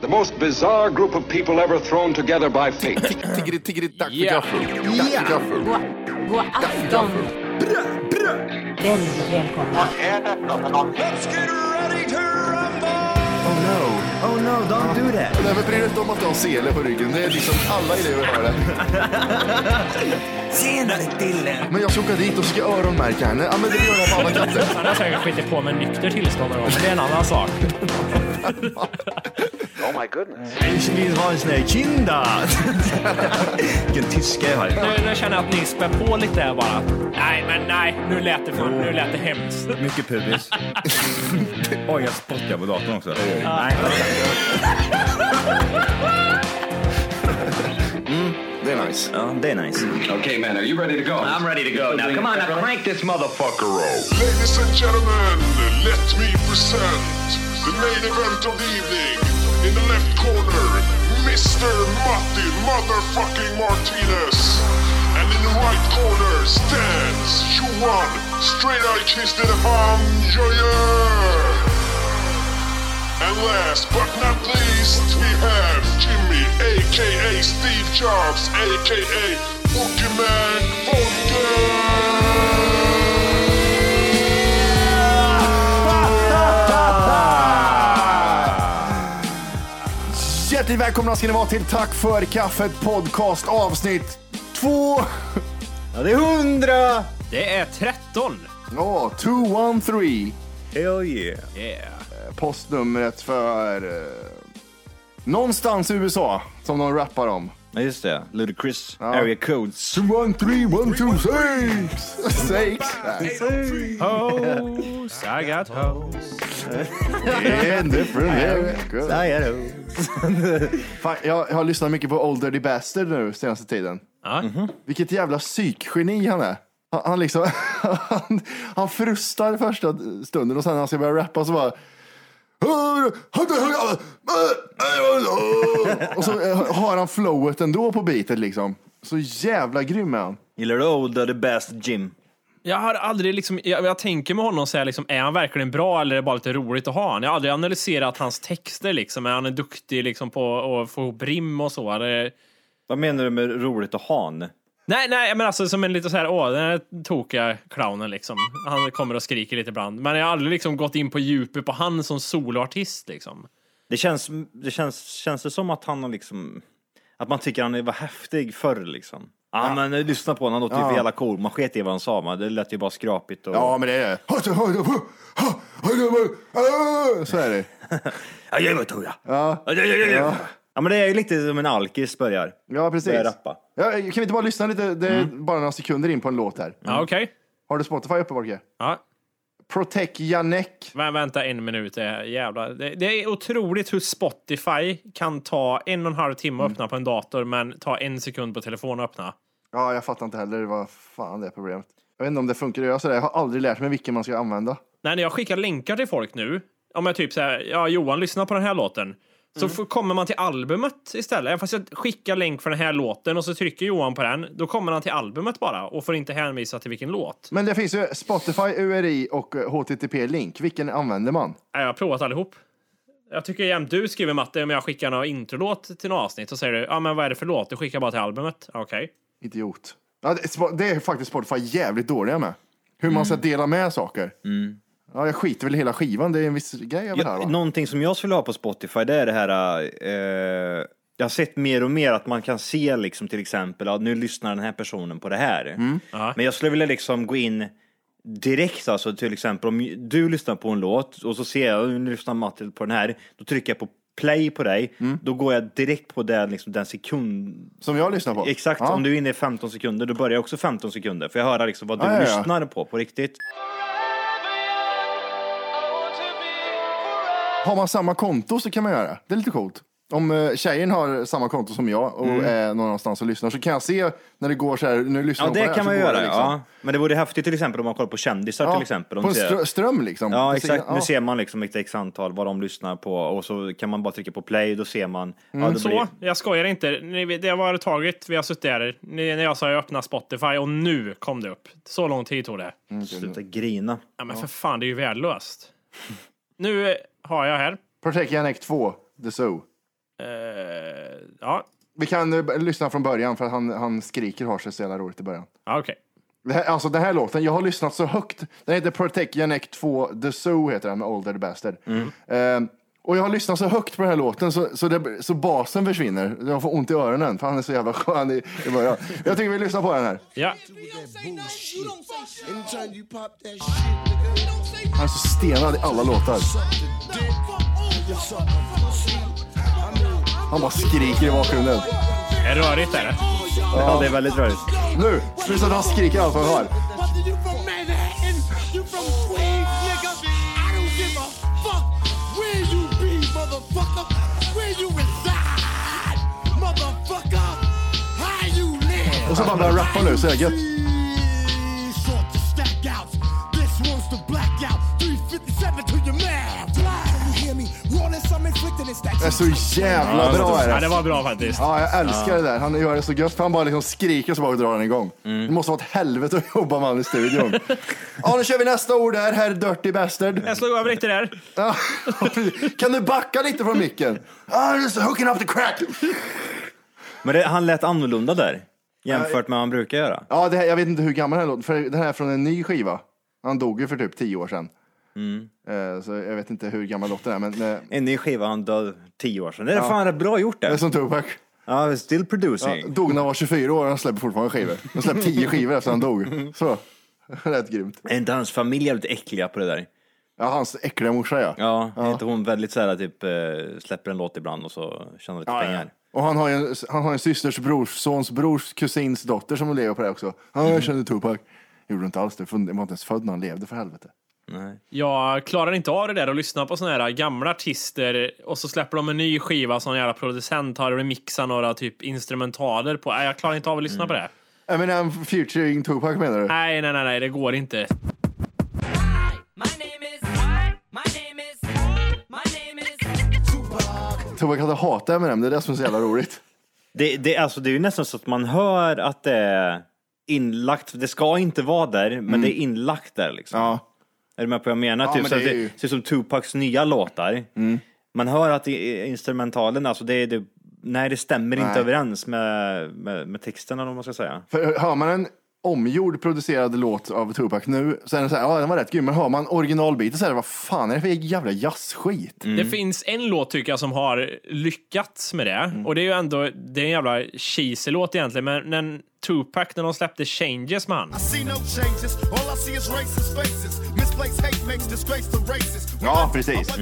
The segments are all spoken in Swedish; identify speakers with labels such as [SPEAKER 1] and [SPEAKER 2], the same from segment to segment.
[SPEAKER 1] The most bizarre group of people ever thrown together by fate.
[SPEAKER 2] Tiggeri, tiggeri, dack för
[SPEAKER 3] Ja.
[SPEAKER 2] gaffel. Dack för Oh, gaffel.
[SPEAKER 4] God, god afton! Väldigt välkomna.
[SPEAKER 5] Oh no, oh no, don't do that.
[SPEAKER 2] Nej, men bry dig inte om att du har sele på ryggen. Det är liksom alla elever har det.
[SPEAKER 5] Senare Dille.
[SPEAKER 2] Men jag ska åka dit och ska öronmärka henne. Ja, men det gör jag på alla katter.
[SPEAKER 3] Han har säkert skitit på med nykter tillstånd någon gång, men det är en annan sak.
[SPEAKER 5] Ich will ha sina kinder. Vilken tyska jag har.
[SPEAKER 3] Nu, nu känner jag att ni spär på lite här bara. Nej, men nej, nu lät det, för, nu lät det hemskt.
[SPEAKER 6] Mycket pubis. Oj, jag spottar på datorn också. Nej.
[SPEAKER 2] Det är nice.
[SPEAKER 6] Ja, det är nice.
[SPEAKER 1] okay, man, are you ready to go?
[SPEAKER 7] I'm ready to go now. Come on, now crank this motherfucker up.
[SPEAKER 8] Ladies and gentlemen, let me present the main event of the evening. In the left corner, Mr. Martin motherfucking Martinez. And in the right corner stands Juan Straight Eye Cheese de la Femme And last but not least, we have Jimmy, aka Steve Jobs, aka Boogeyman Volker.
[SPEAKER 2] Hjärtligt välkomna ska ni vara till Tack för kaffet podcast avsnitt två.
[SPEAKER 6] Ja, det är hundra!
[SPEAKER 3] Det är 13!
[SPEAKER 2] Ja, 213.
[SPEAKER 6] Hell yeah.
[SPEAKER 3] Yeah.
[SPEAKER 2] Postnumret för eh, någonstans i USA som de rappar om.
[SPEAKER 6] Ja, just det. Ludacris. Area codes.
[SPEAKER 2] 213126! Six!
[SPEAKER 3] Oh. Hoes, I got hoes.
[SPEAKER 2] And different haircut.
[SPEAKER 6] Nej, ja,
[SPEAKER 2] Fan, jag, jag har lyssnat mycket på Old Dirty Bastard nu senaste tiden.
[SPEAKER 3] Ja.
[SPEAKER 2] Vilket jävla psykgeni han är. Han, han liksom, han, han frustar första stunden och sen när han ska börja rappa så bara och så eh, har han flowet ändå på beatet liksom. Så jävla grym är han.
[SPEAKER 6] Gillar du Old the best Jim?
[SPEAKER 3] Jag har aldrig liksom, jag, jag tänker med honom så här liksom, är han verkligen bra eller är det bara lite roligt att ha han? Jag har aldrig analyserat hans texter liksom. Är han en duktig liksom på att få ihop rim och så? Eller?
[SPEAKER 6] Vad menar du med roligt att ha han?
[SPEAKER 3] Nej, nej, men alltså som en lite så här, åh, den här tokiga clownen liksom. Han kommer och skriker lite ibland. Men jag har aldrig liksom gått in på djupet på han som soloartist liksom.
[SPEAKER 6] Det känns, det känns, känns det som att han har liksom, att man tycker han var häftig förr liksom? Ja, men eh, lyssna på honom, han låter ju för jävla cool. Man sket i vad han sa, man. det lät ju bara skrapigt och...
[SPEAKER 2] Ja, men det är det. Så är det.
[SPEAKER 6] Ja, jag vet hur jag. Ja. Ja, ja, ja, ja. ja, men det är ju lite som en alkis börjar.
[SPEAKER 2] Ja, precis.
[SPEAKER 6] Börjar rappa.
[SPEAKER 2] Ja, kan vi inte bara lyssna lite? Det är bara några sekunder in på en låt här.
[SPEAKER 3] Ja, okej.
[SPEAKER 2] Har du Spotify uppe, Volke?
[SPEAKER 3] Ja.
[SPEAKER 2] Protect Janek.
[SPEAKER 3] Vä- vänta en minut, det är jävla... Det, det är otroligt hur Spotify kan ta en och en halv timme att öppna på en dator, men ta en sekund på telefon att öppna.
[SPEAKER 2] Ja, jag fattar inte heller vad fan det är problemet. Jag vet inte om det funkar att göra sådär. Jag har aldrig lärt mig vilken man ska använda.
[SPEAKER 3] Nej, när jag skickar länkar till folk nu, om jag typ säger ja Johan lyssna på den här låten, så f- kommer man till albumet istället. Även fast jag skickar länk för den här låten och så trycker Johan på den, då kommer han till albumet bara och får inte hänvisa till vilken låt.
[SPEAKER 2] Men det finns ju Spotify, URI och eh, HTTP-link. Vilken använder man?
[SPEAKER 3] Nej, jag har provat allihop. Jag tycker jämt du skriver Matte, om jag skickar någon introlåt till något avsnitt, så säger du ja men vad är det för låt? Du skickar bara till albumet. Okej.
[SPEAKER 2] Idiot. Ja, det, Spo- det är faktiskt Spotify jävligt dåliga med. Hur man ska
[SPEAKER 6] Mm.
[SPEAKER 2] dela med saker. Ja, jag skiter väl i hela skivan. Det är en viss grej över det här,
[SPEAKER 6] Ja,
[SPEAKER 2] va?
[SPEAKER 6] någonting som jag skulle ha på Spotify, det är det här... Eh, jag har sett mer och mer att man kan se liksom till exempel, ja, nu lyssnar den här personen på det här.
[SPEAKER 2] Mm.
[SPEAKER 3] Ja.
[SPEAKER 6] Men jag skulle vilja liksom gå in direkt, alltså till exempel om du lyssnar på en låt och så ser jag, nu lyssnar Matte på den här, då trycker jag på play på dig,
[SPEAKER 2] Mm.
[SPEAKER 6] då går jag direkt på den, liksom, den sekund...
[SPEAKER 2] Som jag lyssnar på.
[SPEAKER 6] Exakt,
[SPEAKER 2] Ja.
[SPEAKER 6] om du är inne i 15 sekunder, då börjar jag också 15 sekunder, för jag höra liksom vad du
[SPEAKER 2] Ja, ja, ja.
[SPEAKER 6] lyssnar på, på riktigt.
[SPEAKER 2] Har man samma konto så kan man göra det. Det är lite coolt. Om eh, tjejen har samma konto som jag och
[SPEAKER 6] Mm.
[SPEAKER 2] är någonstans och lyssnar så kan jag se när det går så här, nu lyssnar
[SPEAKER 6] Ja,
[SPEAKER 2] hon på
[SPEAKER 6] det
[SPEAKER 2] här,
[SPEAKER 6] kan
[SPEAKER 2] så
[SPEAKER 6] man
[SPEAKER 2] går
[SPEAKER 6] göra.
[SPEAKER 2] det liksom.
[SPEAKER 6] Ja. Men det vore häftigt till exempel om man kollar på kändisar
[SPEAKER 2] Ja,
[SPEAKER 6] till exempel. Om
[SPEAKER 2] På en
[SPEAKER 6] du ser-
[SPEAKER 2] strö- ström liksom.
[SPEAKER 6] Ja,
[SPEAKER 2] Precis,
[SPEAKER 6] exakt. Nu ser man liksom ett x antal vad de lyssnar på och så kan man bara trycka på play, då ser man.
[SPEAKER 2] Mm,
[SPEAKER 6] ja, då
[SPEAKER 3] Så,
[SPEAKER 6] blir...
[SPEAKER 3] jag skojar inte. Ni- Det har det tagit, vi har suttit här, ni- när jag sa jag öppnar Spotify och nu kom det upp. Så lång tid tog det.
[SPEAKER 6] Sluta grina.
[SPEAKER 3] Ja, men för fan, det är ju värdelöst. nu eh, har jag här.
[SPEAKER 2] Project Yannick 2, The Zoo.
[SPEAKER 3] Eh, Ja,
[SPEAKER 2] Vi kan eh, lyssna från början för att han, han skriker och har sig så jävla roligt i början.
[SPEAKER 3] ja okej.
[SPEAKER 2] Det här, alltså den här låten, jag har lyssnat så högt. Den heter Protect Yannick 2 The Zoo heter den med Older the Bastard.
[SPEAKER 6] Mm.
[SPEAKER 2] Ehm, och jag har lyssnat så högt på den här låten så, så, det, så basen försvinner. Jag får ont i öronen för han är så jävla skön i, i början. Jag tycker vi lyssnar på den här.
[SPEAKER 3] Ja.
[SPEAKER 4] Anytime you pop that shit, nigga, don't say
[SPEAKER 2] Han är så stenad i alla låtar. Han bara skriker i bakgrunden.
[SPEAKER 3] Är det rörigt där?
[SPEAKER 6] Ja, det är väldigt rörigt.
[SPEAKER 2] Nu! Sluta att han skriker allt vad han har.
[SPEAKER 4] Whether you from Manhattan, you from Queens, nigga. I don't give a fuck where you be, motherfucker. Where you reside, motherfucker. How you live.
[SPEAKER 2] Och så bara börjar rappa nu så är det gött.
[SPEAKER 4] Sort to stack out. This one's the blackout. 357 to your man. Can you hear me? Rawness I'm inflicting is that
[SPEAKER 2] Det är så jävla
[SPEAKER 6] alltså,
[SPEAKER 2] bra är
[SPEAKER 3] Ja,
[SPEAKER 2] det.
[SPEAKER 3] det var bra faktiskt.
[SPEAKER 2] Ja, jag älskar det där. Han gör det så gött. för Han bara liksom skriker och så bara drar han igång. Det måste vara ett helvete att jobba med han i studion. ja, nu kör vi nästa ord här, herr Dirty Bastard.
[SPEAKER 3] Jag slog över lite där.
[SPEAKER 2] Ja, precis. kan du backa lite från micken? Ah, just hooking up the crack.
[SPEAKER 6] Men det, han lät annorlunda där jämfört med vad han brukar göra.
[SPEAKER 2] Ja, det här, jag vet inte hur gammal den här låten för den här är från en ny skiva. Han dog ju för typ tio år sedan. Eh, Så jag vet inte hur gammal låten är, men eh,
[SPEAKER 6] En ny skiva han död tio år sedan. Det är fan rätt bra gjort
[SPEAKER 2] det är
[SPEAKER 6] det.
[SPEAKER 2] som Tupac.
[SPEAKER 6] Ja, still producing.
[SPEAKER 2] Ja, dog när han var 24 år och han släpper fortfarande skivor. Han släppte tio skivor efter han dog. Så, rätt grymt.
[SPEAKER 6] Är inte hans familj jävligt äckliga på det där?
[SPEAKER 2] Ja, hans äckliga morsa ja.
[SPEAKER 6] Ja, är inte hon väldigt så här typ eh, släpper en låt ibland och så tjänar lite pengar?
[SPEAKER 2] Och han har ju en, han har en systers brors, sons brors, kusins dotter som lever på det också. Ja, jag kände Tupac. Gjorde inte alls det, för jag var inte ens född när han levde för helvete.
[SPEAKER 3] Jag klarar inte av det där och lyssna på såna här gamla artister och så släpper de en ny skiva som en jävla producent har remixat några typ instrumentaler på. Nej, jag klarar inte av
[SPEAKER 2] Mm.
[SPEAKER 3] att lyssna på det.
[SPEAKER 2] Eminem featuring Tupac menar du?
[SPEAKER 3] Nej, nej, nej, nej, det går inte.
[SPEAKER 9] My name is. My name is. My name is.
[SPEAKER 2] Tupac hade hatat Eminem, det är det som är så jävla roligt.
[SPEAKER 6] Det, det, alltså, det är ju nästan så att man hör att det är inlagt. Det ska inte vara där, men det är inlagt där liksom.
[SPEAKER 2] Mm. Ja.
[SPEAKER 6] Är du med på vad jag menar?
[SPEAKER 2] Ja,
[SPEAKER 6] typ,
[SPEAKER 2] men
[SPEAKER 6] så
[SPEAKER 2] det
[SPEAKER 6] att
[SPEAKER 2] är ju- Mm.
[SPEAKER 6] det ser ut som Tupacs nya låtar. Man hör att det är instrumentalen, alltså det, är- det, nej, det stämmer
[SPEAKER 2] Nej.
[SPEAKER 6] inte överens med, med, med texten eller vad man ska säga.
[SPEAKER 2] För hör man en omgjord producerad låt av Tupac nu så är den så här, ja den var rätt grym, men hör man originalbiten så är det, vad fan är det för jävla jazzskit?
[SPEAKER 3] Det finns en låt tycker jag som har lyckats med det.
[SPEAKER 2] Mm.
[SPEAKER 3] Och det är ju ändå, det är en jävla cheesy låt egentligen, men när Tupac, när de släppte Changes med han.
[SPEAKER 10] see no changes. All I see is racist faces. Misplaced hate makes disgrace to races.
[SPEAKER 2] Ja, precis.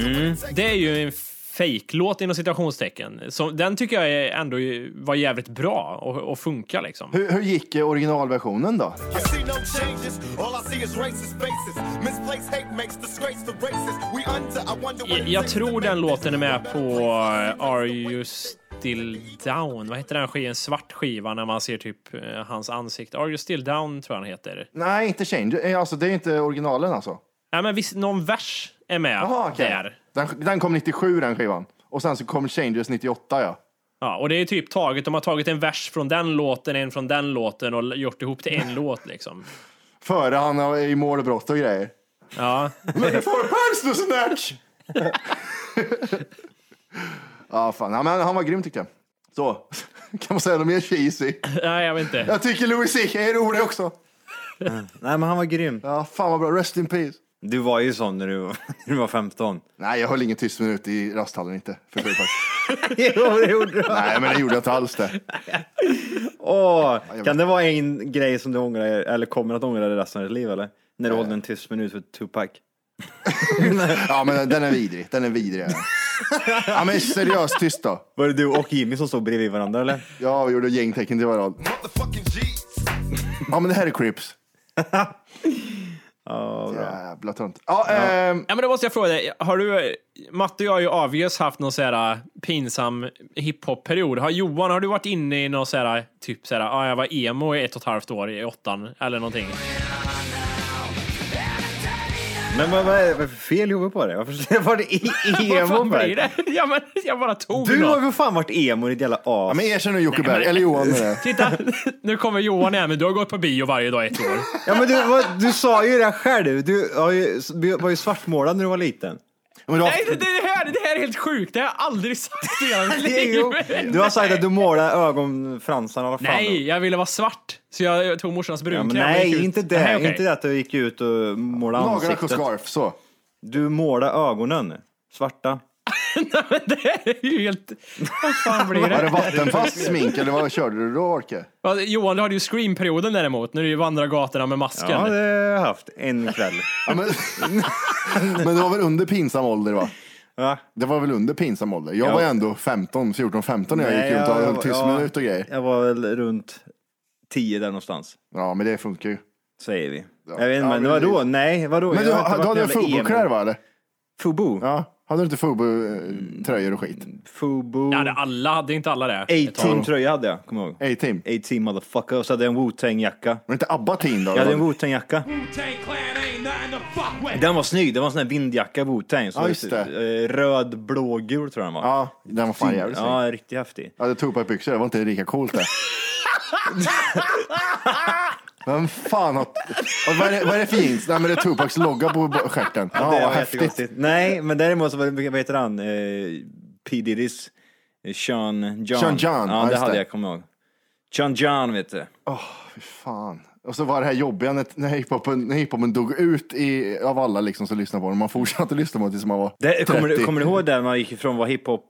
[SPEAKER 3] Det är ju en fejklåt inom citationstecken. Så den tycker jag är ändå ju- var jävligt bra och, och funkar liksom.
[SPEAKER 2] Hur, hur gick eh, originalversionen då?
[SPEAKER 10] I see no changes. All I see is racist faces. Misplaced hate makes disgrace to races. We under. I wonder what
[SPEAKER 3] Jag,
[SPEAKER 10] it
[SPEAKER 3] jag
[SPEAKER 10] takes
[SPEAKER 3] tror
[SPEAKER 10] to
[SPEAKER 3] den
[SPEAKER 10] make
[SPEAKER 3] låten är
[SPEAKER 10] this.
[SPEAKER 3] med på eh, Are You Still Down. Vad heter den skivan? En svart skiva när man ser typ eh, hans ansikte. Are You Still Down tror jag han heter.
[SPEAKER 2] Nej, inte Change, Eh, alltså det är inte originalen alltså.
[SPEAKER 3] Nej men visst, någon vers är med
[SPEAKER 2] Jaha, Ah, okej.
[SPEAKER 3] där.
[SPEAKER 2] Den, den kom 97 den skivan. Och sen så kom Changes 98 ja.
[SPEAKER 3] Ja, och det är typ taget, de har tagit en vers från den låten, en från den låten och gjort ihop till en låt liksom.
[SPEAKER 2] Före han har- är i mål och brott och grejer.
[SPEAKER 3] Ja,
[SPEAKER 2] Looking for a pants to snatch! ja, fan. Ja, men han var grym tyckte jag. Så. Kan man säga något mer cheesy?
[SPEAKER 3] nej jag vet inte.
[SPEAKER 2] Jag tycker Louis CK är rolig också.
[SPEAKER 6] Nej, men han var grym.
[SPEAKER 2] Ja, fan vad bra. Rest in peace.
[SPEAKER 6] Du var ju sån när du, var- när du var 15.
[SPEAKER 2] Nej, jag höll ingen tyst minut i rasthallen inte. För sjukt faktiskt.
[SPEAKER 6] jo, det gjorde du.
[SPEAKER 2] Nej, men det gjorde jag inte alls det.
[SPEAKER 6] Åh, kan det vara en grej som du ångrar, eller kommer att ångra dig resten av ditt liv eller? När
[SPEAKER 2] Eh.
[SPEAKER 6] du håller en tyst minut för Tupac.
[SPEAKER 2] Ja, men den är vidrig. Den är vidrig. är den. Ja, men seriöst tyst då.
[SPEAKER 6] Var det du och Jimmy som stod bredvid varandra eller?
[SPEAKER 2] Jag gjorde gängtecken till varandra.
[SPEAKER 10] Motherfucking G's.
[SPEAKER 2] Ja, men det här är Crips. Jävla tönt. Ja, ehm,
[SPEAKER 3] Ja, men då måste jag fråga dig, har du, Matte och jag har ju avgjort haft någon så här äh, pinsam hiphop-period. Har Johan, har du varit inne i någon så här, typ så här, ja, jag var emo i ett och ett halvt år i åttan eller någonting?
[SPEAKER 6] Men vad, vad är vad är det för fel i huvudet på dig? Varför var det i- emo?
[SPEAKER 3] Vad fan blir
[SPEAKER 6] för?
[SPEAKER 3] det? Ja, men jag bara tog
[SPEAKER 6] Du har
[SPEAKER 3] något.
[SPEAKER 6] ju fan varit emo i ditt jävla
[SPEAKER 2] ja,
[SPEAKER 6] as.
[SPEAKER 2] men erkänn nu Jocke Berg, eller Johan med det.
[SPEAKER 3] Titta, nu kommer Johan igen, men du har gått på bio varje dag i ett år.
[SPEAKER 6] Ja, men du, vad, du sa ju det själv. Du, har ju, du var ju svartmålad när du var liten.
[SPEAKER 2] Men du har
[SPEAKER 3] Nej, det, det, här, det här är helt sjukt. Det har jag aldrig sagt i hela mitt
[SPEAKER 6] Jo,
[SPEAKER 3] liv.
[SPEAKER 6] du har sagt att du målar ögonfransarna. Vad fan
[SPEAKER 3] Nej, jag ville vara svart. Så jag tog morsans
[SPEAKER 6] Ja, men
[SPEAKER 3] brunkräm. och gick
[SPEAKER 6] nej,
[SPEAKER 3] ut.
[SPEAKER 6] inte det.
[SPEAKER 3] Nej, okej.
[SPEAKER 6] Inte det att du gick ut och målade
[SPEAKER 2] nagellack och
[SPEAKER 6] ansiktet.
[SPEAKER 2] scarf, så.
[SPEAKER 6] Du målade ögonen svarta.
[SPEAKER 3] Det är ju helt... Vad fan blir
[SPEAKER 2] Var det
[SPEAKER 3] det?
[SPEAKER 2] vattenfast smink eller vad körde du då, Orke?
[SPEAKER 3] Vad- Johan, du hade ju Scream-perioden däremot. När du ju vandrar gatorna med masken.
[SPEAKER 6] Ja, det har jag haft en kväll.
[SPEAKER 2] Ja, men, men det var väl under pinsam ålder, va?
[SPEAKER 6] Va?
[SPEAKER 2] Det var väl under pinsam ålder. Jag
[SPEAKER 6] Ja.
[SPEAKER 2] var ändå 15, 14, 15 när jag
[SPEAKER 6] Nej,
[SPEAKER 2] gick runt och
[SPEAKER 6] jag-
[SPEAKER 2] höll tyst
[SPEAKER 6] jag-
[SPEAKER 2] minut och grejer.
[SPEAKER 6] Jag var väl runt tio där någonstans,
[SPEAKER 2] Ja, men det funkar ju.
[SPEAKER 6] säger vi. Jag vet
[SPEAKER 2] Ja,
[SPEAKER 6] inte, men
[SPEAKER 2] men
[SPEAKER 6] vadå?
[SPEAKER 2] det-
[SPEAKER 6] Nej, vadå?
[SPEAKER 2] Men du,
[SPEAKER 6] Jag
[SPEAKER 2] då
[SPEAKER 6] har inte varit
[SPEAKER 2] hade du
[SPEAKER 6] jävla emo. Mm.
[SPEAKER 2] Fubu-kläder, va? Eller?
[SPEAKER 6] Fubu?
[SPEAKER 2] Ja, hade du inte Fubu-tröjor och skit?
[SPEAKER 6] Mm. Fubu.
[SPEAKER 3] Jag hade alla, hade inte alla det. Ett tag.
[SPEAKER 6] A-team tröja hade jag, kommer jag ihåg.
[SPEAKER 2] A-team. Var
[SPEAKER 6] A-team motherfucker. Och så hade jag en Wu-Tang jacka.
[SPEAKER 2] det inte ABBA-team då?
[SPEAKER 6] Jag hade
[SPEAKER 2] eller?
[SPEAKER 6] en Wu-Tang jacka. Den var snygg, det var en sån här vindjacka Wu-Tang. Så
[SPEAKER 2] Ja, just det.
[SPEAKER 6] eh, Röd, blågul tror jag den var.
[SPEAKER 2] Ja, den var fan jävligt snygg.
[SPEAKER 6] Ja, riktigt häftig.
[SPEAKER 2] Jag hade Tupac-byxor, det var inte lika coolt det. Vem fan har... Och Vad är, det, vad är det för jeans? Nej men det är Tupacs logga på b- stjärten. Ja,
[SPEAKER 6] det
[SPEAKER 2] vad
[SPEAKER 6] var
[SPEAKER 2] häftigt.
[SPEAKER 6] jättekonstigt. Nej, men däremot så var det, vad heter han, eh, P Diddy's, eh, Sean John.
[SPEAKER 2] Sean John, ja,
[SPEAKER 6] Ja, det
[SPEAKER 2] just
[SPEAKER 6] hade
[SPEAKER 2] det.
[SPEAKER 6] jag, kommer ihåg. Sean John vet du.
[SPEAKER 2] Fy Fan. Och så var det här jobbiga när, när hiphopen, när hiphopen dog ut i, av alla liksom som lyssnade på den. Man fortsatte lyssna på det tills man var
[SPEAKER 6] Det,
[SPEAKER 2] 30.
[SPEAKER 6] kommer, du, kommer du ihåg där man gick ifrån att vara hiphop,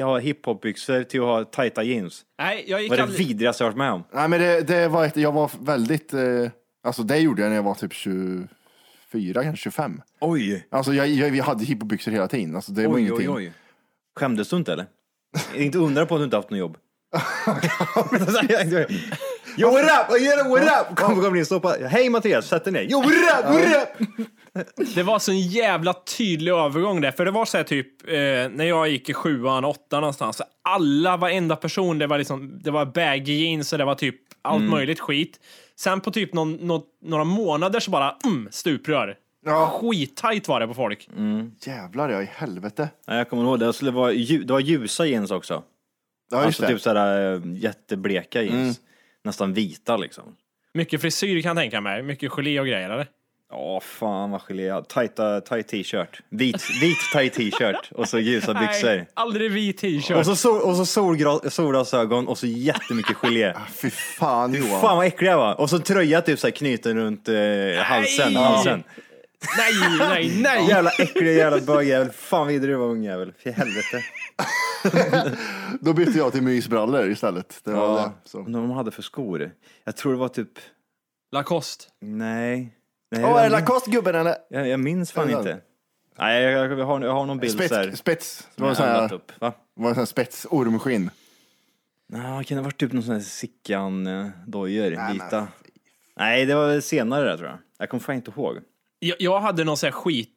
[SPEAKER 6] ha hiphopbyxor till att ha tajta jeans?
[SPEAKER 3] Nej, jag gick
[SPEAKER 6] Var det
[SPEAKER 3] aldrig...
[SPEAKER 6] vidrigaste jag varit med om.
[SPEAKER 2] Nej men det, det var ett, jag var väldigt, eh, alltså det gjorde jag när jag var typ 24 kanske 25.
[SPEAKER 6] Oj,
[SPEAKER 2] Alltså jag, jag, vi hade hiphopbyxor hela tiden. Alltså det var
[SPEAKER 6] oj, oj,
[SPEAKER 2] ingenting.
[SPEAKER 6] oj. Skämdes du inte eller? inte undra på att du inte haft något jobb. Yo what up, yo what up! Kom, kom in, stoppa. Hej Mattias, sätt dig ner. Yo what up, what up!
[SPEAKER 3] Det var så en jävla tydlig övergång där. För det var så här typ, eh, när jag gick i sjuan, åttan någonstans. Så alla, varenda person, det var liksom, det var baggy jeans och det var typ allt
[SPEAKER 6] Mm.
[SPEAKER 3] möjligt skit. Sen på typ någon, nå- några månader så bara, mm, stuprör.
[SPEAKER 2] Ja.
[SPEAKER 3] Skittajt var det på folk.
[SPEAKER 2] Jävlar ja, i helvete.
[SPEAKER 6] Nej, jag kommer ihåg det. Det, skulle vara, lju- det var ljusa jeans också.
[SPEAKER 2] Ja, just
[SPEAKER 6] alltså
[SPEAKER 2] det. Mm.
[SPEAKER 6] typ sådär äh, jättebleka jeans. Nästan vita liksom.
[SPEAKER 3] Mycket frisyr kan jag tänka mig. Mycket gelé och grejer, eller?
[SPEAKER 6] Ja, fan vad gelé. Tajta, tajt t-shirt. Vit, vit tajt t-shirt och så ljusa byxor.
[SPEAKER 3] Nej, aldrig vit
[SPEAKER 6] Och
[SPEAKER 3] t-shirt.
[SPEAKER 6] så, sol, och så solgra- solglasögon och så jättemycket gelé.
[SPEAKER 2] Ah, Fy fan Johan.
[SPEAKER 6] Fan vad äckliga jag var. Och så tröja typ såhär knuten runt eh, halsen. halsen.
[SPEAKER 3] Nej, nej, nej!
[SPEAKER 6] Jävla äcklig jävla bögjävel. Fan vidrig du var ungjävel. Fy helvete.
[SPEAKER 2] Då bytte jag till mysbrallor istället. Det var
[SPEAKER 6] Ja,
[SPEAKER 2] det. Så.
[SPEAKER 6] Undrar vad de hade för skor. Jag tror det var typ,
[SPEAKER 3] Lacoste.
[SPEAKER 6] nej. nej
[SPEAKER 2] Åh, är det
[SPEAKER 6] jag-
[SPEAKER 2] Lacoste-gubben eller?
[SPEAKER 6] Jag, jag minns fan
[SPEAKER 2] Eller?
[SPEAKER 6] inte. Nej, jag, jag, jag, har, jag har någon bild så här.
[SPEAKER 2] Spets. spets. Det var en
[SPEAKER 6] jag
[SPEAKER 2] sån
[SPEAKER 6] har
[SPEAKER 2] här,
[SPEAKER 6] lagt upp, va?
[SPEAKER 2] var en sån här spetsormskinn.
[SPEAKER 6] Ja, kan det ha varit typ någon sån här Sickan-dojor, vita? Nej, det var väl senare där tror jag. Jag kommer fan inte ihåg.
[SPEAKER 3] Jag, jag hade någon sån här skit,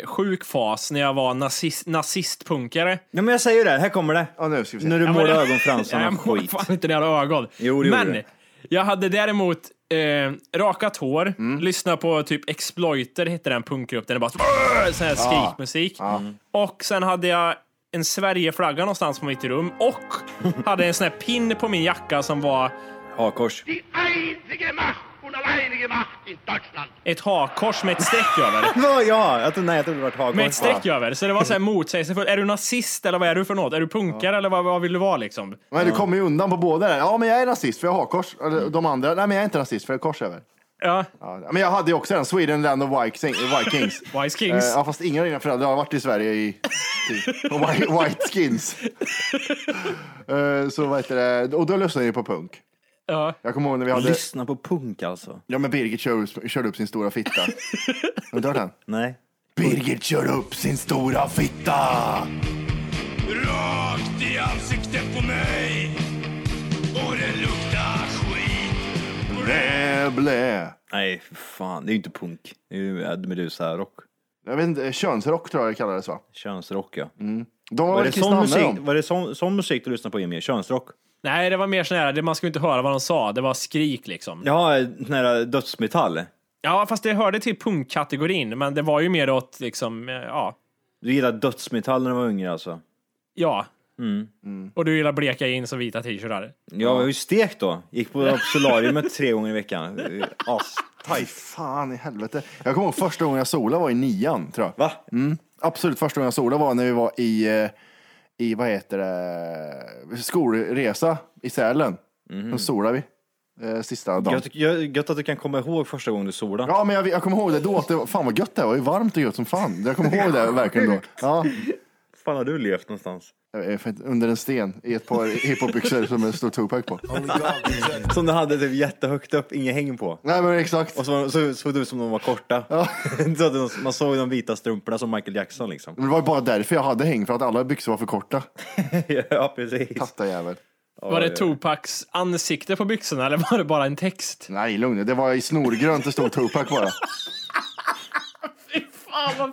[SPEAKER 3] eh, sjuk fas när jag var nazist, nazistpunkare.
[SPEAKER 6] Ja, men jag säger ju det, här kommer det.
[SPEAKER 2] Ja, nu ska vi se.
[SPEAKER 6] När du
[SPEAKER 3] Ja, men-
[SPEAKER 6] målar
[SPEAKER 3] Nej,
[SPEAKER 6] ögonfransarna
[SPEAKER 3] jag mår
[SPEAKER 6] skit.
[SPEAKER 3] fan inte när jag har ögon.
[SPEAKER 6] Jo, det gjorde
[SPEAKER 3] Men
[SPEAKER 6] du.
[SPEAKER 3] jag hade däremot eh, rakat hår,
[SPEAKER 6] Mm.
[SPEAKER 3] lyssnade på typ Exploiter, hette den punkgruppen. Det bara "Brr!" sån här
[SPEAKER 6] Ah.
[SPEAKER 3] skrikmusik. Och sen hade jag en Sverigeflagga någonstans på mitt rum och hade en sån här pin på min jacka som var
[SPEAKER 6] Hakkors.
[SPEAKER 4] Die einzige Macht und alleinige Macht in Deutschland.
[SPEAKER 3] ett hakkors med ett streck över.
[SPEAKER 6] Ja, ja, jag tror, nej, jag tror det var hakkors.
[SPEAKER 3] Med ett streck över. Så det var så här motsägelsefullt. Är du nazist eller vad är du för något? Är du punkare eller vad, vad vill du vara liksom?
[SPEAKER 2] Men du kommer ju undan på båda där. Ja, men jag är rasist för jag har kors.
[SPEAKER 6] Mm.
[SPEAKER 2] Eller De andra, nej men jag är inte rasist för jag har kors över.
[SPEAKER 3] Ja,
[SPEAKER 2] Ja, men jag hade ju också den, Sweden Land of Vikings. Vikings.
[SPEAKER 3] Wise Kings.
[SPEAKER 2] Eh, Ja, fast ingen av dina föräldrar har varit i Sverige i typ, på white, white skins. Eh, Så vad heter det, och då lyssnade jag ju på punk.
[SPEAKER 3] ja.
[SPEAKER 2] Jag kommer ihåg när vi hade,
[SPEAKER 6] Lyssna på punk alltså.
[SPEAKER 2] ja men Birgit körde upp, körde upp sin stora fitta. Har du hört den?
[SPEAKER 6] Nej.
[SPEAKER 2] Birgit kör upp sin stora fitta.
[SPEAKER 4] Rakt i ansiktet på mig. Och det luktar skit.
[SPEAKER 2] Blä, blä.
[SPEAKER 6] Nej, för fan. Det är ju inte punk. Det är ju Ed Meduza-rock.
[SPEAKER 2] Jag vet inte, könsrock tror jag det kallades va?
[SPEAKER 6] Könsrock, ja.
[SPEAKER 2] Mm. De var,
[SPEAKER 6] Var
[SPEAKER 2] väl
[SPEAKER 6] det,
[SPEAKER 2] kristna
[SPEAKER 6] sån
[SPEAKER 2] andra
[SPEAKER 6] musik,
[SPEAKER 2] de?
[SPEAKER 6] var det sån, sån musik du lyssnade på, Emil? Könsrock?
[SPEAKER 3] Nej, det var mer sån här, det- man skulle inte höra vad de sa. Det var skrik liksom. Ja,
[SPEAKER 6] Ja, nära dödsmetall.
[SPEAKER 3] fast det hörde till punkkategorin, men det var ju mer åt liksom, eh, ja.
[SPEAKER 6] Du gillade dödsmetall när du var yngre alltså?
[SPEAKER 3] Ja. Och du gillar bleka jeans och vita t-shirtar.
[SPEAKER 6] Jag var ju stekt då. Gick på solariumet tre gånger i veckan. As.
[SPEAKER 2] Fy fan i helvete. Jag kommer ihåg första gången jag solade var i nian tror jag.
[SPEAKER 6] Va?
[SPEAKER 2] absolut första gången jag såg det var när vi var i, eh, i vad heter det, skolresa i Sälen.
[SPEAKER 6] Mhm.
[SPEAKER 2] Då solade vi eh, sista dagen.
[SPEAKER 6] Gött, gött, gött att du kan komma ihåg första gången du solade.
[SPEAKER 2] Ja, men jag, jag kommer ihåg det då. Att det var, fan vad gött det var. Det var ju varmt och gött som fan. Jag kommer ihåg det verkligen då. Ja,
[SPEAKER 6] fan har du levt någonstans?
[SPEAKER 2] Jag vet inte, under en sten i ett par hiphopbyxor som det stod Tupac på.
[SPEAKER 6] Som du hade typ jättehögt upp, inget häng på.
[SPEAKER 2] Nej, men exakt.
[SPEAKER 6] Och så så såg du ut som de var korta. så att de- man såg de vita strumporna som Michael Jackson liksom.
[SPEAKER 2] Men det var ju bara därför jag hade häng, för att alla byxor var för korta.
[SPEAKER 6] ja, precis.
[SPEAKER 2] Tatta jävel.
[SPEAKER 3] Var det Tupacs ansikte på byxorna eller var det bara en text?
[SPEAKER 2] Nej, lugn nu. Det var i snorgrönt det stod Tupac bara.
[SPEAKER 3] Fan, vad...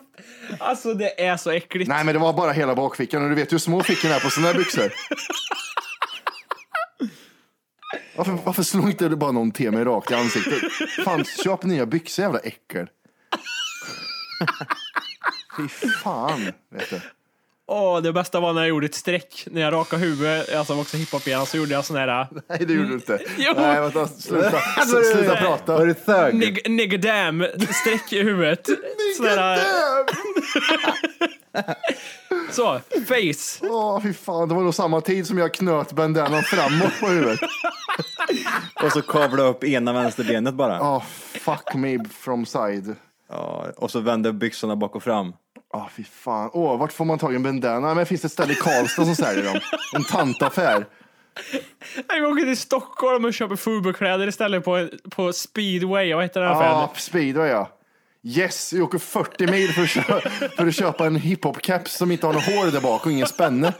[SPEAKER 3] Alltså det är så äckligt.
[SPEAKER 2] Nej, men det var bara hela bakfickan. Och du vet ju hur små fickorna är på sådana här byxor. Varför, varför slog inte du bara någon till mig rakt i ansiktet? Fan, köp nya byxor jävla äckel. Fy fan, vet du.
[SPEAKER 3] Åh, det bästa var när jag gjorde ett streck. När jag rakade huvudet, alltså var också hiphop-igen, så gjorde jag sån här
[SPEAKER 2] Nej, det gjorde du inte.
[SPEAKER 3] Jo.
[SPEAKER 2] Nej, vänta, sluta, sluta prata.
[SPEAKER 5] Var du thug?
[SPEAKER 3] neg- negadam-streck i huvudet. Sån här, så, face.
[SPEAKER 2] Åh, fy fan. Det var nog samma tid som jag knöt bandanan framåt på huvudet.
[SPEAKER 6] Och så kavlade upp ena vänsterbenet bara.
[SPEAKER 2] Åh, fuck me from side.
[SPEAKER 6] Ja, och så vände byxorna bak och fram.
[SPEAKER 2] Åh, fy fan. Åh, vart får man tag i en bandana? Men finns det ett ställe i Karlstad som säljer dem? En tantaffär.
[SPEAKER 3] Jag åker till Stockholm och köper Fubu-kläder istället på, på speedway. Vad heter den här affären?
[SPEAKER 2] Ja, speedway ja. Yes, jag åker 40 mil för att, kö- för att köpa en hiphop-caps som inte har något hår där bak och ingen spänne.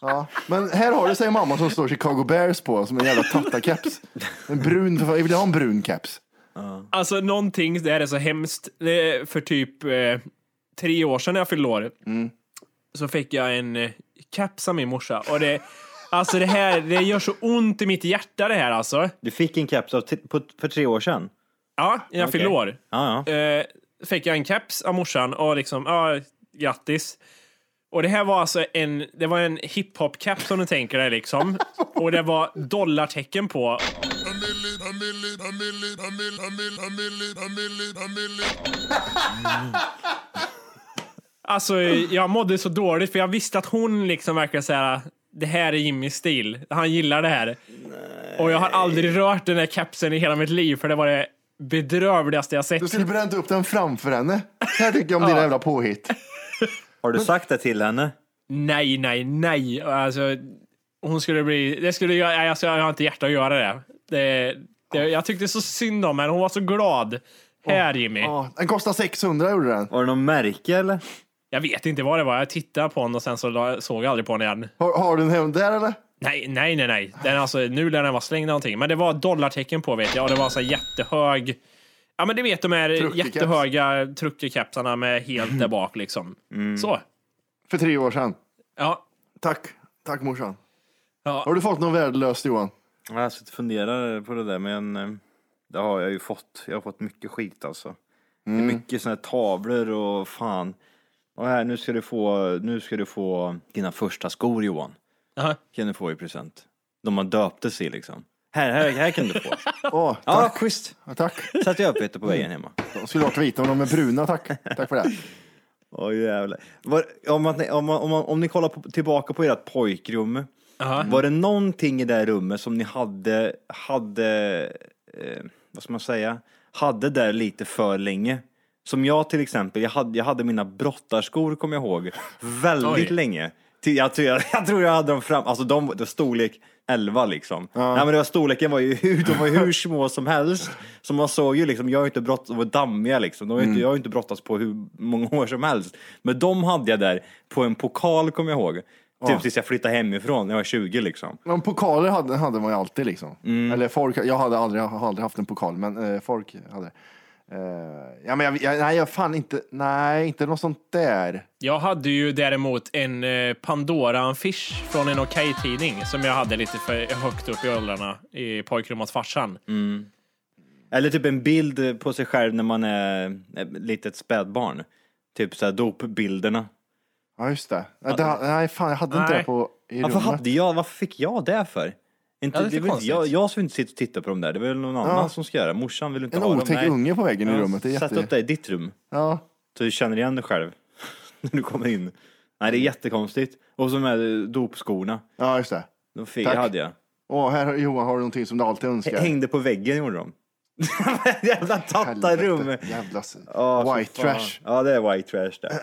[SPEAKER 2] Ja, men här har du, säger mamma, som står Chicago Bears på, som en jävla tatta-caps. En brun, jag vill ha en brun caps.
[SPEAKER 3] Alltså någonting där är så hemskt. Det är För typ eh, tre år sedan när jag fyllde år så fick jag en eh, caps av min morsa. Och det, alltså det här, det gör så ont i mitt hjärta det här alltså.
[SPEAKER 6] Du fick en keps av t- på, för tre år sedan.
[SPEAKER 3] Ja, när jag fyllde år.
[SPEAKER 6] Ja, ja.
[SPEAKER 3] Eh, fick jag en caps av morsan och liksom, ja, grattis. Och det här var alltså en, det var en hiphop-caps om du tänker dig liksom. Och det var dollartecken på. Alltså jag mådde så dåligt för jag visste att hon liksom verkar säga det här är Jimmys stil. Han gillar det här. Och jag har aldrig rört den här kepsen i hela mitt liv för det var det bedrövligaste jag
[SPEAKER 2] Du
[SPEAKER 3] sett.
[SPEAKER 2] skulle bränt upp den framför henne. Så här tycker jag om dina jävla påhitt.
[SPEAKER 6] Har du sagt det till henne?
[SPEAKER 3] Nej, nej, nej. Alltså, hon skulle bli... Det skulle jag, nej, alltså, jag har inte hjärta att göra det. det, det jag tyckte så synd om henne. Hon var så glad. Här Jimmy.
[SPEAKER 2] Ja, den kostar 600 gjorde den.
[SPEAKER 6] Var det någon märke eller?
[SPEAKER 3] Jag vet inte vad det var. Jag tittade på henne och sen så la- såg jag aldrig på henne igen.
[SPEAKER 2] Har, har du den hem där eller?
[SPEAKER 3] Nej, nej, nej, nej. Den, alltså, nu lär den vara slängd någonting. Men det var dollartecken på vet jag. Och det var så här jättehög... Ja, men du vet de här
[SPEAKER 2] Truckerkeps.
[SPEAKER 3] jättehöga truckerkepsarna med helt där bak liksom. Så.
[SPEAKER 2] För tre år sedan.
[SPEAKER 3] Ja.
[SPEAKER 2] Tack. Tack morsan.
[SPEAKER 3] Ja.
[SPEAKER 2] Har du fått något värdelöst Johan?
[SPEAKER 6] Ja, Jag sitter och funderar på det där, men eh, det har jag ju fått. Jag har fått mycket skit alltså. Det är mycket såna här tavlor och fan. Och här, nu, ska du få, nu ska du få dina första skor Johan.
[SPEAKER 3] Aha.
[SPEAKER 6] Kan du få i present. De man döptes i liksom. Här, här, här kan du få.
[SPEAKER 2] Åh,
[SPEAKER 6] Ja,
[SPEAKER 2] tack.
[SPEAKER 6] schysst.
[SPEAKER 2] tack.
[SPEAKER 6] Satte jag upp lite på vägen hemma.
[SPEAKER 2] De skulle varit vita om de är bruna, tack. Tack för det.
[SPEAKER 6] Åh jävlar. Var, om, man, om, man, om, man, om ni kollar på, tillbaka på ert pojkrum. Var det någonting i det här rummet som ni hade, hade eh, vad ska man säga, hade där lite för länge? Som jag till exempel, jag hade, jag hade mina brottarskor kommer jag ihåg, väldigt
[SPEAKER 3] Oj.
[SPEAKER 6] länge. Till- Jag tror jag, jag tror jag hade dem fram, alltså de det var storlek 11 liksom. Nej men det var storleken var ju hur, de var ju hur små som helst. Så man såg ju liksom, jag har ju inte brottats, de var dammiga liksom. De har ju inte, jag har ju inte brottats på hur många år som helst. Men de hade jag där på en pokal kommer jag ihåg. Typ tills jag flyttade hemifrån när jag var 20 liksom.
[SPEAKER 2] Men pokaler hade, hade man ju alltid liksom.
[SPEAKER 6] Mm.
[SPEAKER 2] Eller folk, jag hade aldrig, jag har aldrig haft en pokal, men eh, folk hade. Eh, ja, men jag, jag, nej, jag fan inte, nej, inte något sånt där.
[SPEAKER 3] Jag hade ju däremot en eh, Pandora-affisch från en Okej-tidning som jag hade lite för högt upp i åldrarna i pojkrummet farsan.
[SPEAKER 6] Eller typ en bild på sig själv när man är ett litet spädbarn. Typ såhär dopbilderna.
[SPEAKER 2] Ja, just det. Ja, det nej, fan, jag hade inte
[SPEAKER 3] Nej.
[SPEAKER 2] det på, i
[SPEAKER 6] Varför
[SPEAKER 2] rummet.
[SPEAKER 6] hade jag, varför fick jag det för? Inte,
[SPEAKER 3] Ja, det är lite
[SPEAKER 6] det är väl inte,
[SPEAKER 3] konstigt.
[SPEAKER 6] jag, jag ska inte sitta och titta på dem där, det är väl någon annan som ska göra det. Morsan vill inte
[SPEAKER 2] En
[SPEAKER 6] ha dem.
[SPEAKER 2] otäck
[SPEAKER 6] Nej.
[SPEAKER 2] unge på väggen i rummet. Det är
[SPEAKER 6] Sätt
[SPEAKER 2] jätte...
[SPEAKER 6] upp det i ditt rum,
[SPEAKER 2] Ja.
[SPEAKER 6] så du känner igen dig själv. när du kommer in. Nej, det är jättekonstigt. Och så med dopskorna.
[SPEAKER 2] Ja, just det.
[SPEAKER 6] De fick,
[SPEAKER 2] Tack.
[SPEAKER 6] hade jag.
[SPEAKER 2] Åh, här har- Johan har du någonting som du alltid önskar.
[SPEAKER 6] Hängde på väggen gjorde de. Jävla
[SPEAKER 2] Helvete,
[SPEAKER 6] tattarrum.
[SPEAKER 2] Jävla s-
[SPEAKER 6] Ja, fy
[SPEAKER 2] white
[SPEAKER 6] fan.
[SPEAKER 2] trash.
[SPEAKER 6] Ja, det är white trash det.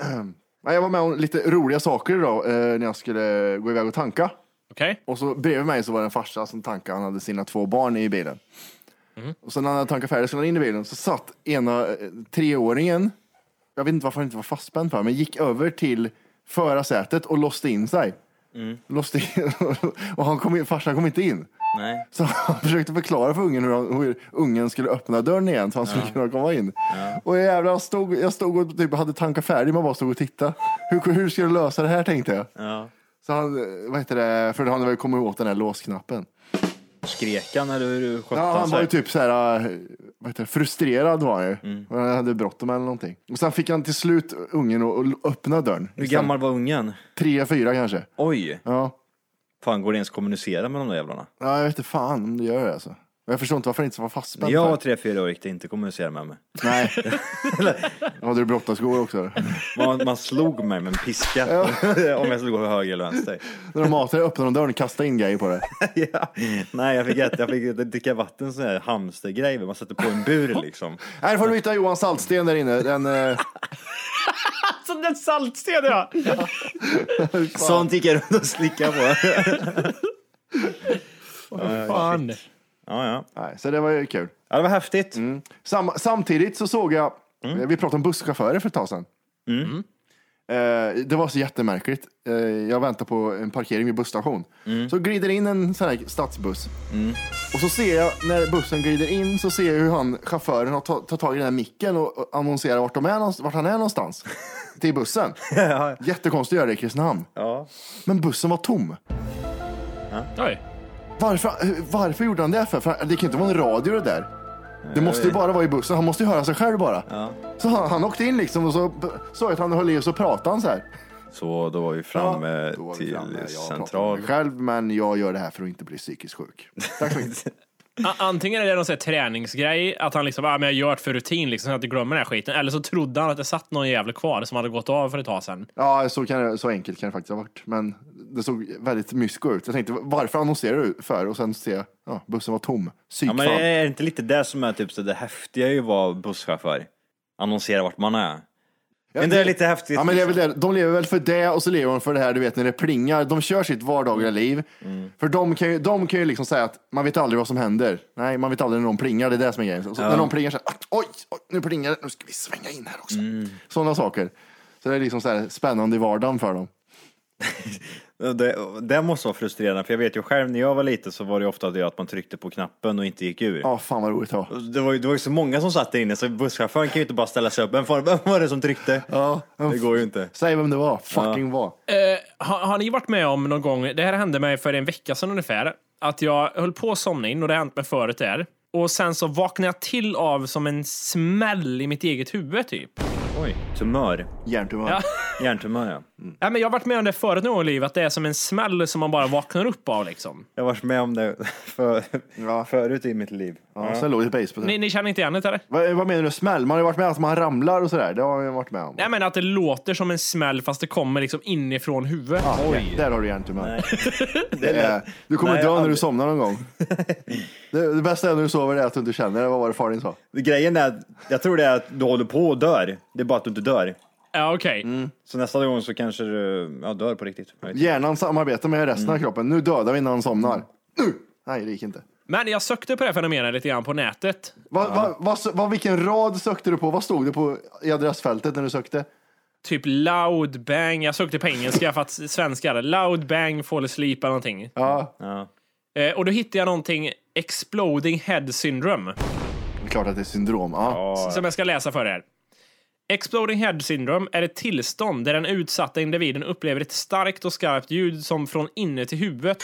[SPEAKER 2] Nej, Jag var med om lite roliga saker idag eh, när jag skulle gå iväg och tanka.
[SPEAKER 3] Okej?
[SPEAKER 2] Och så bredvid mig så var det en farsa som tankade, han hade sina två barn i bilen. Och sen när han hade tankat färdigt, så han in i bilen, så satt ena eh, treåringen, jag vet inte varför han inte var fastspänd för, men gick över till förarsätet och låste in sig. Låste in, och han kom in, farsan kom inte in.
[SPEAKER 6] Nej.
[SPEAKER 2] Så han försökte förklara för ungen hur, han, hur ungen skulle öppna dörren igen så han skulle kunna komma in. Och jävlar, jag stod, jag stod och typ hade tankar färdigt, man bara stod och tittade. Hur, hur ska du lösa det här tänkte jag.
[SPEAKER 6] Ja.
[SPEAKER 2] Så han, eh, vad heter det, för då hade han väl kommit åt den här låsknappen.
[SPEAKER 6] Skrek han eller hur skötte
[SPEAKER 2] Ja, han
[SPEAKER 6] sig?
[SPEAKER 2] var ju typ så här, eh, vad heter det, frustrerad var han ju. Han hade bråttom eller någonting. Och sen fick han till slut ungen att- att öppna dörren.
[SPEAKER 6] Hur gammal var ungen?
[SPEAKER 2] Tre, fyra kanske.
[SPEAKER 6] Oj,
[SPEAKER 2] Ja.
[SPEAKER 6] fan går det ens att kommunicera med de där jävlarna?
[SPEAKER 2] ja, jag vet inte fan om det gör det alltså. Men Jag förstår inte varför han inte var
[SPEAKER 6] När
[SPEAKER 2] fastspänd.
[SPEAKER 6] jag
[SPEAKER 2] för.
[SPEAKER 6] var tre, fyra år gick det inte att kommunicera med mig.
[SPEAKER 2] Nej. Hade du brottarskor också? eller?
[SPEAKER 6] Man, man slog mig med en piska om jag skulle gå höger eller vänster.
[SPEAKER 2] När de matade öppnade de dörren och kastade in grejer på det.
[SPEAKER 6] ja. Nej, jag fick, jätte- jag fick dricka vatten, sån här hamstergrej, man sätter på en bur liksom.
[SPEAKER 2] Här får du hitta Johan Saltsten där inne. Den, eh,
[SPEAKER 3] Som den saltsten ja!
[SPEAKER 6] Sånt gick jag runt och slickade på.
[SPEAKER 3] Fan.
[SPEAKER 6] Ja, ja.
[SPEAKER 2] nej, så det var ju kul.
[SPEAKER 6] ja det var häftigt.
[SPEAKER 2] Mm. Sam, samtidigt så såg jag, eh, vi pratade om busschaufförer för ett tag sedan. Eh, det var så jättemärkligt. Eh, jag väntar på en parkering vid busstation. Så glider in en sån här stadsbuss. Och så ser jag, när bussen glider in, så ser jag hur han, chauffören har ta- tagit tag i den här micken och och annonserar vart, de är, någonstans- vart han är någonstans. Till bussen. Jättekonstigt att göra det i Kristinehamn.
[SPEAKER 6] Ja.
[SPEAKER 2] Men bussen var tom.
[SPEAKER 3] Oj.
[SPEAKER 2] Varför, varför gjorde han det? För? för det kan ju inte vara en radio det där. Det måste ju bara vara i bussen. Han måste ju höra sig själv bara. Så han, han åkte in liksom och så såg jag att han höll i och så pratade han så här.
[SPEAKER 6] Så då var vi framme
[SPEAKER 2] Då var vi
[SPEAKER 6] till
[SPEAKER 2] framme. Jag pratar med
[SPEAKER 6] central.
[SPEAKER 2] mig själv, men jag gör det här för att inte bli psykiskt sjuk. Tack så mycket.
[SPEAKER 3] A- Antingen är det någon sån här träningsgrej, att han liksom, ah, men jag gör det för rutin liksom, så att jag glömmer den här skiten. Eller så trodde han att det satt någon jävel kvar som hade gått av för ett tag sedan.
[SPEAKER 2] Ja, så, kan det, så enkelt kan det faktiskt ha varit. Men det såg väldigt mysko ut. Jag tänkte, varför annonserar du för? Och sen ser jag, ja, bussen var tom. Psyk
[SPEAKER 6] Ja, men
[SPEAKER 2] fan.
[SPEAKER 6] är det inte lite det som är typ så det häftiga är ju att vara busschaufför? Annonsera vart man är.
[SPEAKER 2] Ja,
[SPEAKER 6] Men det är lite häftigt.
[SPEAKER 2] Ja, men det är väl det. De lever väl för det och så lever de för det här, du vet när det plingar. De kör sitt vardagliga liv. För de kan, ju, de kan ju liksom säga att man vet aldrig vad som händer. Nej, man vet aldrig när de plingar, det är det som är grejen. Så När de plingar så här, "Att, oj, oj, nu plingar det, nu ska vi svänga in här också. Sådana saker. Så det är liksom så här spännande i vardagen för dem.
[SPEAKER 6] Det, det måste vara frustrerande, för jag vet ju själv när jag var liten så var det ju ofta det att man tryckte på knappen och inte gick ur.
[SPEAKER 2] Ja, fan vad roligt det var.
[SPEAKER 6] Det, var ju, det var ju så många som satt där inne så busschauffören kan ju inte bara ställa sig upp. Vem, fan- vem var det som tryckte?
[SPEAKER 2] Ja,
[SPEAKER 6] Det går ju inte.
[SPEAKER 2] Säg vem det var, fucking var.
[SPEAKER 3] Eh, har, har ni varit med om någon gång, det här hände mig för en vecka sedan ungefär, att jag höll på att somna in och det har hänt mig förut där. Och sen så vaknade jag till av som en smäll i mitt eget huvud typ.
[SPEAKER 6] Oj, tumör.
[SPEAKER 2] Hjärntumör.
[SPEAKER 3] Ja.
[SPEAKER 6] Hjärntumör ja.
[SPEAKER 3] Ja, men jag har varit med om det förut någon gång i livet, att det är som en smäll som man bara vaknar upp av liksom.
[SPEAKER 6] Jag har varit med om det för, förut i mitt liv.
[SPEAKER 2] Ja, sen låg det base på det.
[SPEAKER 3] Ni, ni känner inte igen det eller?
[SPEAKER 2] Vad, vad menar du smäll? Man har ju varit med om att man ramlar och sådär. Det har man ju varit med om.
[SPEAKER 3] Nej men att det låter som en smäll fast det kommer liksom inifrån huvudet.
[SPEAKER 2] Ja, Där har du hjärntumör.
[SPEAKER 6] Det
[SPEAKER 2] Eh,
[SPEAKER 6] lät-
[SPEAKER 2] Du kommer
[SPEAKER 6] Nej,
[SPEAKER 2] dö när du
[SPEAKER 6] aldrig.
[SPEAKER 2] somnar någon gång. Det, det bästa är när du sover är att du inte känner det. Vad var det far din sa?
[SPEAKER 6] Grejen är att jag tror det är att du håller på och dör. Det är bara att du inte dör.
[SPEAKER 3] Ja, okej.
[SPEAKER 6] Så nästa gång så kanske du ja, dör på riktigt. Jag vet inte.
[SPEAKER 2] Hjärnan samarbetar med resten
[SPEAKER 6] Mm.
[SPEAKER 2] av kroppen. Nu dödar vi innan han somnar. Nu! Nej, det gick inte.
[SPEAKER 3] Men jag sökte på det här fenomenet lite grann på nätet.
[SPEAKER 2] Va, va, va, va, vilken rad sökte du på? Vad stod det på i adressfältet när du sökte?
[SPEAKER 3] Typ loud bang. Jag sökte på engelska för att svenskar. Loud bang fall asleep eller någonting.
[SPEAKER 2] Ja,
[SPEAKER 3] Eh, och då hittade jag någonting exploding head syndrome.
[SPEAKER 2] det är klart att det är syndrom. Ja.
[SPEAKER 3] Som jag ska läsa för er. Exploding head syndrome är ett tillstånd där den utsatta individen upplever ett starkt och skarpt ljud som från inne till huvudet.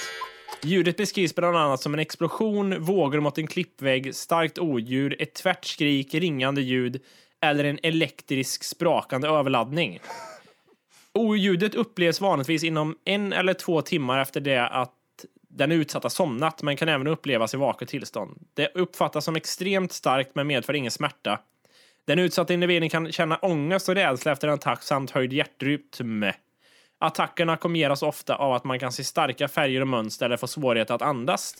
[SPEAKER 3] Ljudet beskrivs bland annat som en explosion, vågor mot en klippvägg, starkt oljud, ett tvärt skrik, ringande ljud eller en elektrisk sprakande överladdning. Oljudet upplevs vanligtvis inom en eller två timmar efter det att den utsatta somnat, men kan även upplevas i vaket tillstånd. Det uppfattas som extremt starkt, men medför ingen smärta. Den utsatta individen kan känna ångest och rädsla efter en attack samt höjd hjärtrytm. Attackerna kombineras ofta av att man kan se starka färger och mönster eller få svårighet att andas.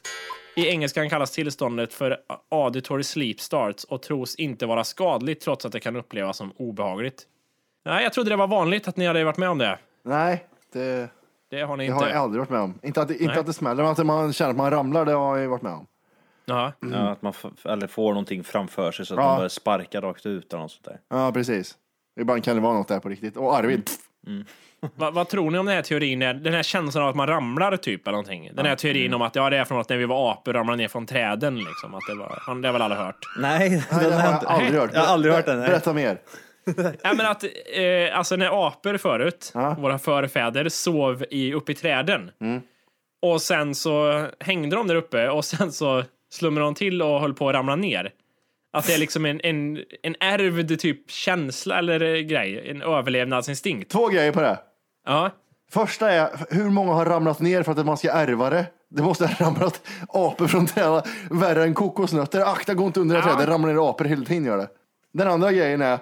[SPEAKER 3] I engelskan kallas tillståndet för auditory sleep starts och tros inte vara skadligt trots att det kan upplevas som obehagligt. Nej, jag trodde det var vanligt att ni hade varit med om det.
[SPEAKER 2] Nej, det,
[SPEAKER 3] Det har ni
[SPEAKER 2] det
[SPEAKER 3] inte.
[SPEAKER 2] har jag aldrig varit med om. Inte att, det- inte
[SPEAKER 3] Nej.
[SPEAKER 2] att det smäller, men att man känner att man ramlar, det har jag ju varit med om.
[SPEAKER 3] Jaha.
[SPEAKER 2] Mm.
[SPEAKER 6] Ja, att man f- eller får någonting framför sig så att
[SPEAKER 2] Ja.
[SPEAKER 6] man börjar sparka rakt ut eller något sånt där.
[SPEAKER 2] Ja, precis. Ibland kan det vara något där på riktigt. Och Arvid,
[SPEAKER 6] Mm.
[SPEAKER 2] pff,
[SPEAKER 3] Va, vad tror ni om den här teorin? är- Den här känslan av att man ramlar typ eller någonting. Den här teorin
[SPEAKER 2] Mm.
[SPEAKER 3] om att ja, det är från att när vi var apor ramlade ner från träden liksom. Att det, var, har- det har väl alla hört?
[SPEAKER 2] nej,
[SPEAKER 6] Nej, den
[SPEAKER 2] det har jag aldrig hört.
[SPEAKER 6] Jag har aldrig hört den. Nej.
[SPEAKER 2] Berätta mer.
[SPEAKER 3] Nej, men att eh, alltså när apor förut, våra förfäder, sov i, uppe i träden. Och sen så hängde de där uppe och sen så slumrade de till och höll på att ramla ner. Att det är liksom en, en, en ärvd typ känsla eller eh, grej, en överlevnadsinstinkt.
[SPEAKER 2] Två grejer på det.
[SPEAKER 3] Ja.
[SPEAKER 2] Första är, hur många har ramlat ner för att man ska ärva det? Det måste ha ramlat apor från träden, värre än kokosnötter. Akta, gå inte under det här trädet, det ramlar ner apor hela tiden. Gör det. Den andra grejen är,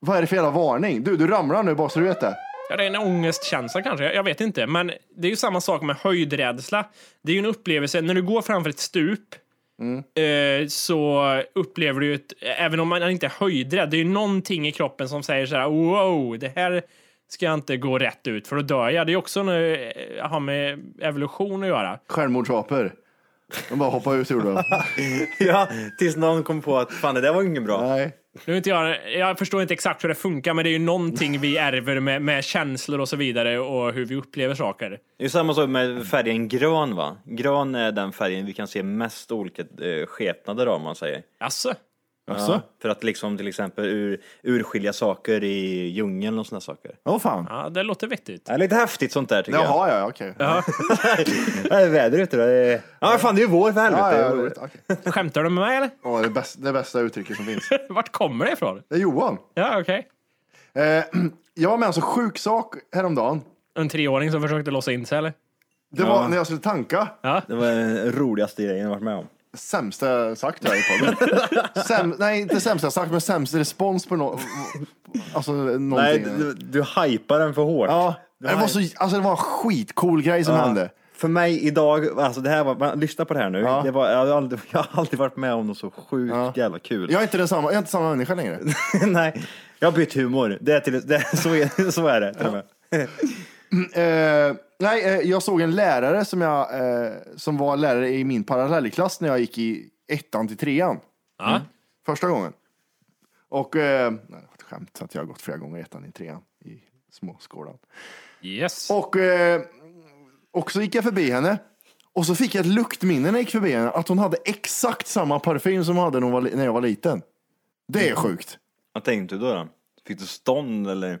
[SPEAKER 2] vad är det för jävla varning? Du, du ramlar nu bara så du vet det.
[SPEAKER 3] Ja, det är en ångestkänsla kanske. Jag, jag vet inte. Men det är ju samma sak med höjdrädsla. Det är ju en upplevelse. När du går framför ett stup eh, så upplever du ju, ett, även om man inte är höjdrädd, det är ju någonting i kroppen som säger så här wow, det här ska jag inte gå rätt ut för då dör jag. Det är också en, eh, har med evolution att göra.
[SPEAKER 2] Självmordsapor. De bara hoppar ut ur dem.
[SPEAKER 6] Ja, tills någon kom på att fan det där var ju inget bra.
[SPEAKER 2] Nej.
[SPEAKER 3] Nu är inte jag, jag förstår inte exakt hur det funkar, men det är ju någonting vi ärver med, med känslor och så vidare och hur vi upplever saker.
[SPEAKER 6] Det är samma sak med färgen grön va? Grön är den färgen vi kan se mest olika eh, skepnader av om man säger.
[SPEAKER 3] Alltså,
[SPEAKER 2] Jaså?
[SPEAKER 6] För att liksom till exempel ur, urskilja saker i djungeln och sådana saker.
[SPEAKER 2] Åh fan.
[SPEAKER 3] ja, det låter vettigt.
[SPEAKER 6] Det är lite häftigt sånt där tycker
[SPEAKER 2] Jaha, ja, ja, okej.
[SPEAKER 6] jag. Ja, det är väder ute då. Det är- Ja fan det är ju vår för
[SPEAKER 2] Ja,
[SPEAKER 6] helvete.
[SPEAKER 2] ja, roligt. Okej.
[SPEAKER 3] Skämtar du med mig eller?
[SPEAKER 2] Åh, det, bästa, det bästa uttrycket som finns.
[SPEAKER 3] Vart kommer det ifrån?
[SPEAKER 2] Det är Johan.
[SPEAKER 3] Ja, okej.
[SPEAKER 2] Eh, jag var med om en så sjuk sak häromdagen.
[SPEAKER 3] En treåring som försökte låsa in sig eller?
[SPEAKER 2] Det var när jag skulle tanka.
[SPEAKER 6] Det var den roligaste grejen jag varit med om.
[SPEAKER 2] Sämsta jag sagt här i podden. Säm, nej, inte sämsta jag sagt, men sämsta respons på något. Alltså någonting.
[SPEAKER 6] Nej, du, du hypar den för hårt.
[SPEAKER 2] ja,
[SPEAKER 6] Du
[SPEAKER 2] det, var
[SPEAKER 6] hypar-
[SPEAKER 2] så, alltså, det var en skitcool grej som hände.
[SPEAKER 6] För mig idag, alltså det här var, man, lyssna på det här nu.
[SPEAKER 2] Ja.
[SPEAKER 6] Det var, jag, har aldrig, jag har aldrig varit med om något så sjukt jävla kul.
[SPEAKER 2] Jag är inte, densamma, jag är inte samma människa längre.
[SPEAKER 6] Nej, jag har bytt humor. Det är till, det är, så, är, så är det till och med.
[SPEAKER 2] Eh, nej, eh, jag såg en lärare som, jag, eh, som var lärare i min parallellklass när jag gick i ettan till trean.
[SPEAKER 3] Ja.
[SPEAKER 2] Första gången. Och, eh, nej, det var ett skämt att jag har gått flera gånger i ettan till trean i småskolan.
[SPEAKER 3] Yes.
[SPEAKER 2] Och, eh, och så gick jag förbi henne. Och så fick jag ett luktminne när jag gick förbi henne att hon hade exakt samma parfym som hon hade när, hon var, li- när jag var liten. Det är
[SPEAKER 6] Mm.
[SPEAKER 2] sjukt.
[SPEAKER 6] Vad tänkte du då? då? Fick du stånd eller?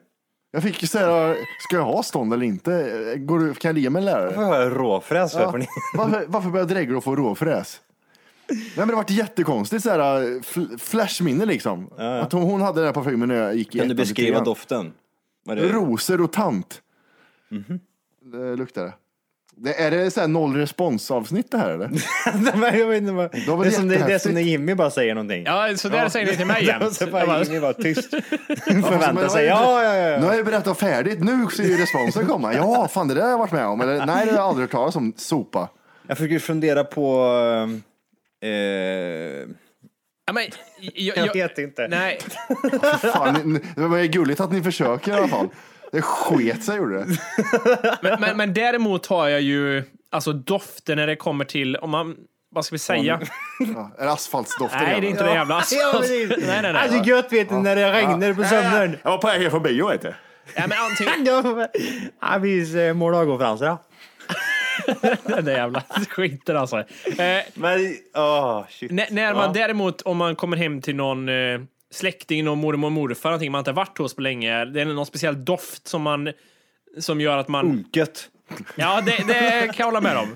[SPEAKER 2] Jag fick ju säga, ska jag ha stånd eller inte? Går du, kan jag ligga med en lärare?
[SPEAKER 6] Varför har jag råfräs för? för ni?
[SPEAKER 2] Varför, varför börjar dregla och få råfräs? Nej, men det vart jättekonstigt så här, fl- flashminne liksom. Att hon, hon hade den här parfymen när jag gick i
[SPEAKER 6] Kan du
[SPEAKER 2] ettan till
[SPEAKER 6] beskriva
[SPEAKER 2] trean.
[SPEAKER 6] doften? Vad är det?
[SPEAKER 2] Rosor och tant.
[SPEAKER 6] Mhm.
[SPEAKER 2] Det luktar det. det. Är det så här noll respons avsnitt det här eller?
[SPEAKER 6] Nej, jag vet inte vad-
[SPEAKER 2] var
[SPEAKER 6] det, är som, det, det är som
[SPEAKER 2] jättehäftigt.
[SPEAKER 6] när Jimmy bara säger någonting.
[SPEAKER 3] Ja, så där säger ni till mig
[SPEAKER 6] Och
[SPEAKER 3] jämt.
[SPEAKER 6] så
[SPEAKER 3] Jag
[SPEAKER 6] bara
[SPEAKER 3] bara,
[SPEAKER 6] Jimmy bara tyst.
[SPEAKER 2] men
[SPEAKER 6] Förväntar
[SPEAKER 2] jag
[SPEAKER 6] sig.
[SPEAKER 2] har ju-
[SPEAKER 6] Ja, ja, ja.
[SPEAKER 2] Nu
[SPEAKER 6] ja.
[SPEAKER 2] har jag ju berättat färdigt, nu ser ju responsen komma. Ja, fan det där har jag varit med om. Eller, nej, det har jag aldrig hört talas om. Sopa.
[SPEAKER 6] Jag försöker fundera på... Eh,
[SPEAKER 3] ja, men, jag,
[SPEAKER 6] jag vet inte.
[SPEAKER 3] Nej,
[SPEAKER 2] Fan, ni- ni- det var ju gulligt att ni försöker i alla fall. Det sket sig gjorde det.
[SPEAKER 3] men, men, men däremot har jag ju alltså dofter när det kommer till om man vad ska vi säga?
[SPEAKER 2] Ja, är det asfaltsdoften
[SPEAKER 3] Nej,
[SPEAKER 2] igen?
[SPEAKER 3] det är inte det jävla
[SPEAKER 6] Ja,
[SPEAKER 3] asfalt.
[SPEAKER 6] precis.
[SPEAKER 3] Nej, nej,
[SPEAKER 6] Alltså
[SPEAKER 3] nej.
[SPEAKER 6] gött vet du när det regnar på sommaren.
[SPEAKER 2] Jag var på väg hem från bio vet du.
[SPEAKER 3] Nej, men antingen
[SPEAKER 6] Han visar eh, mål och konferenser. ja.
[SPEAKER 3] den där jävla skiten alltså. Eh,
[SPEAKER 6] Men, åh shit.
[SPEAKER 3] N- när man däremot, om man kommer hem till någon eh, släkting, någon mormor och morfar, någonting man inte har varit hos på länge, det är någon speciell doft som man som gör att man...
[SPEAKER 6] Gött.
[SPEAKER 3] Ja, det, det kan jag hålla med om.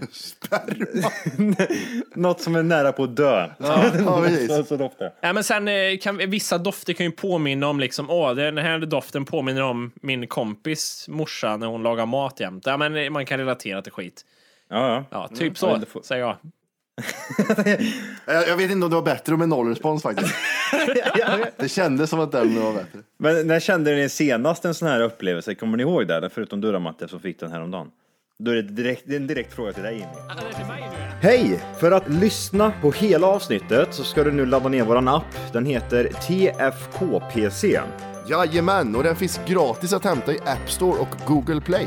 [SPEAKER 6] Något som är nära på att dö.
[SPEAKER 2] Ja, precis.
[SPEAKER 6] Så, så doftar
[SPEAKER 3] Ja, men sen eh, kan, vissa dofter kan ju påminna om liksom, åh, den här doften påminner om min kompis morsa när hon lagar mat jämt. Ja, men eh, man kan relatera till skit.
[SPEAKER 6] Ja, ja.
[SPEAKER 3] Ja, typ
[SPEAKER 6] Mm. Ja,
[SPEAKER 3] så,
[SPEAKER 6] det får-
[SPEAKER 3] säger jag.
[SPEAKER 2] Jag, jag vet inte om det var bättre med noll respons faktiskt. Det kändes som att den var bättre.
[SPEAKER 6] Men när kände ni senast en sån här upplevelse? Kommer ni ihåg det? Förutom du då Matte som fick den här om dagen. Då är det, direkt, det är en direkt fråga till dig Jimmy.
[SPEAKER 3] Alltså,
[SPEAKER 6] Hej! För att lyssna på hela avsnittet så ska du nu ladda ner våran app. Den heter TFKPC.
[SPEAKER 2] Jajamän, och den finns gratis att hämta i App Store och Google Play.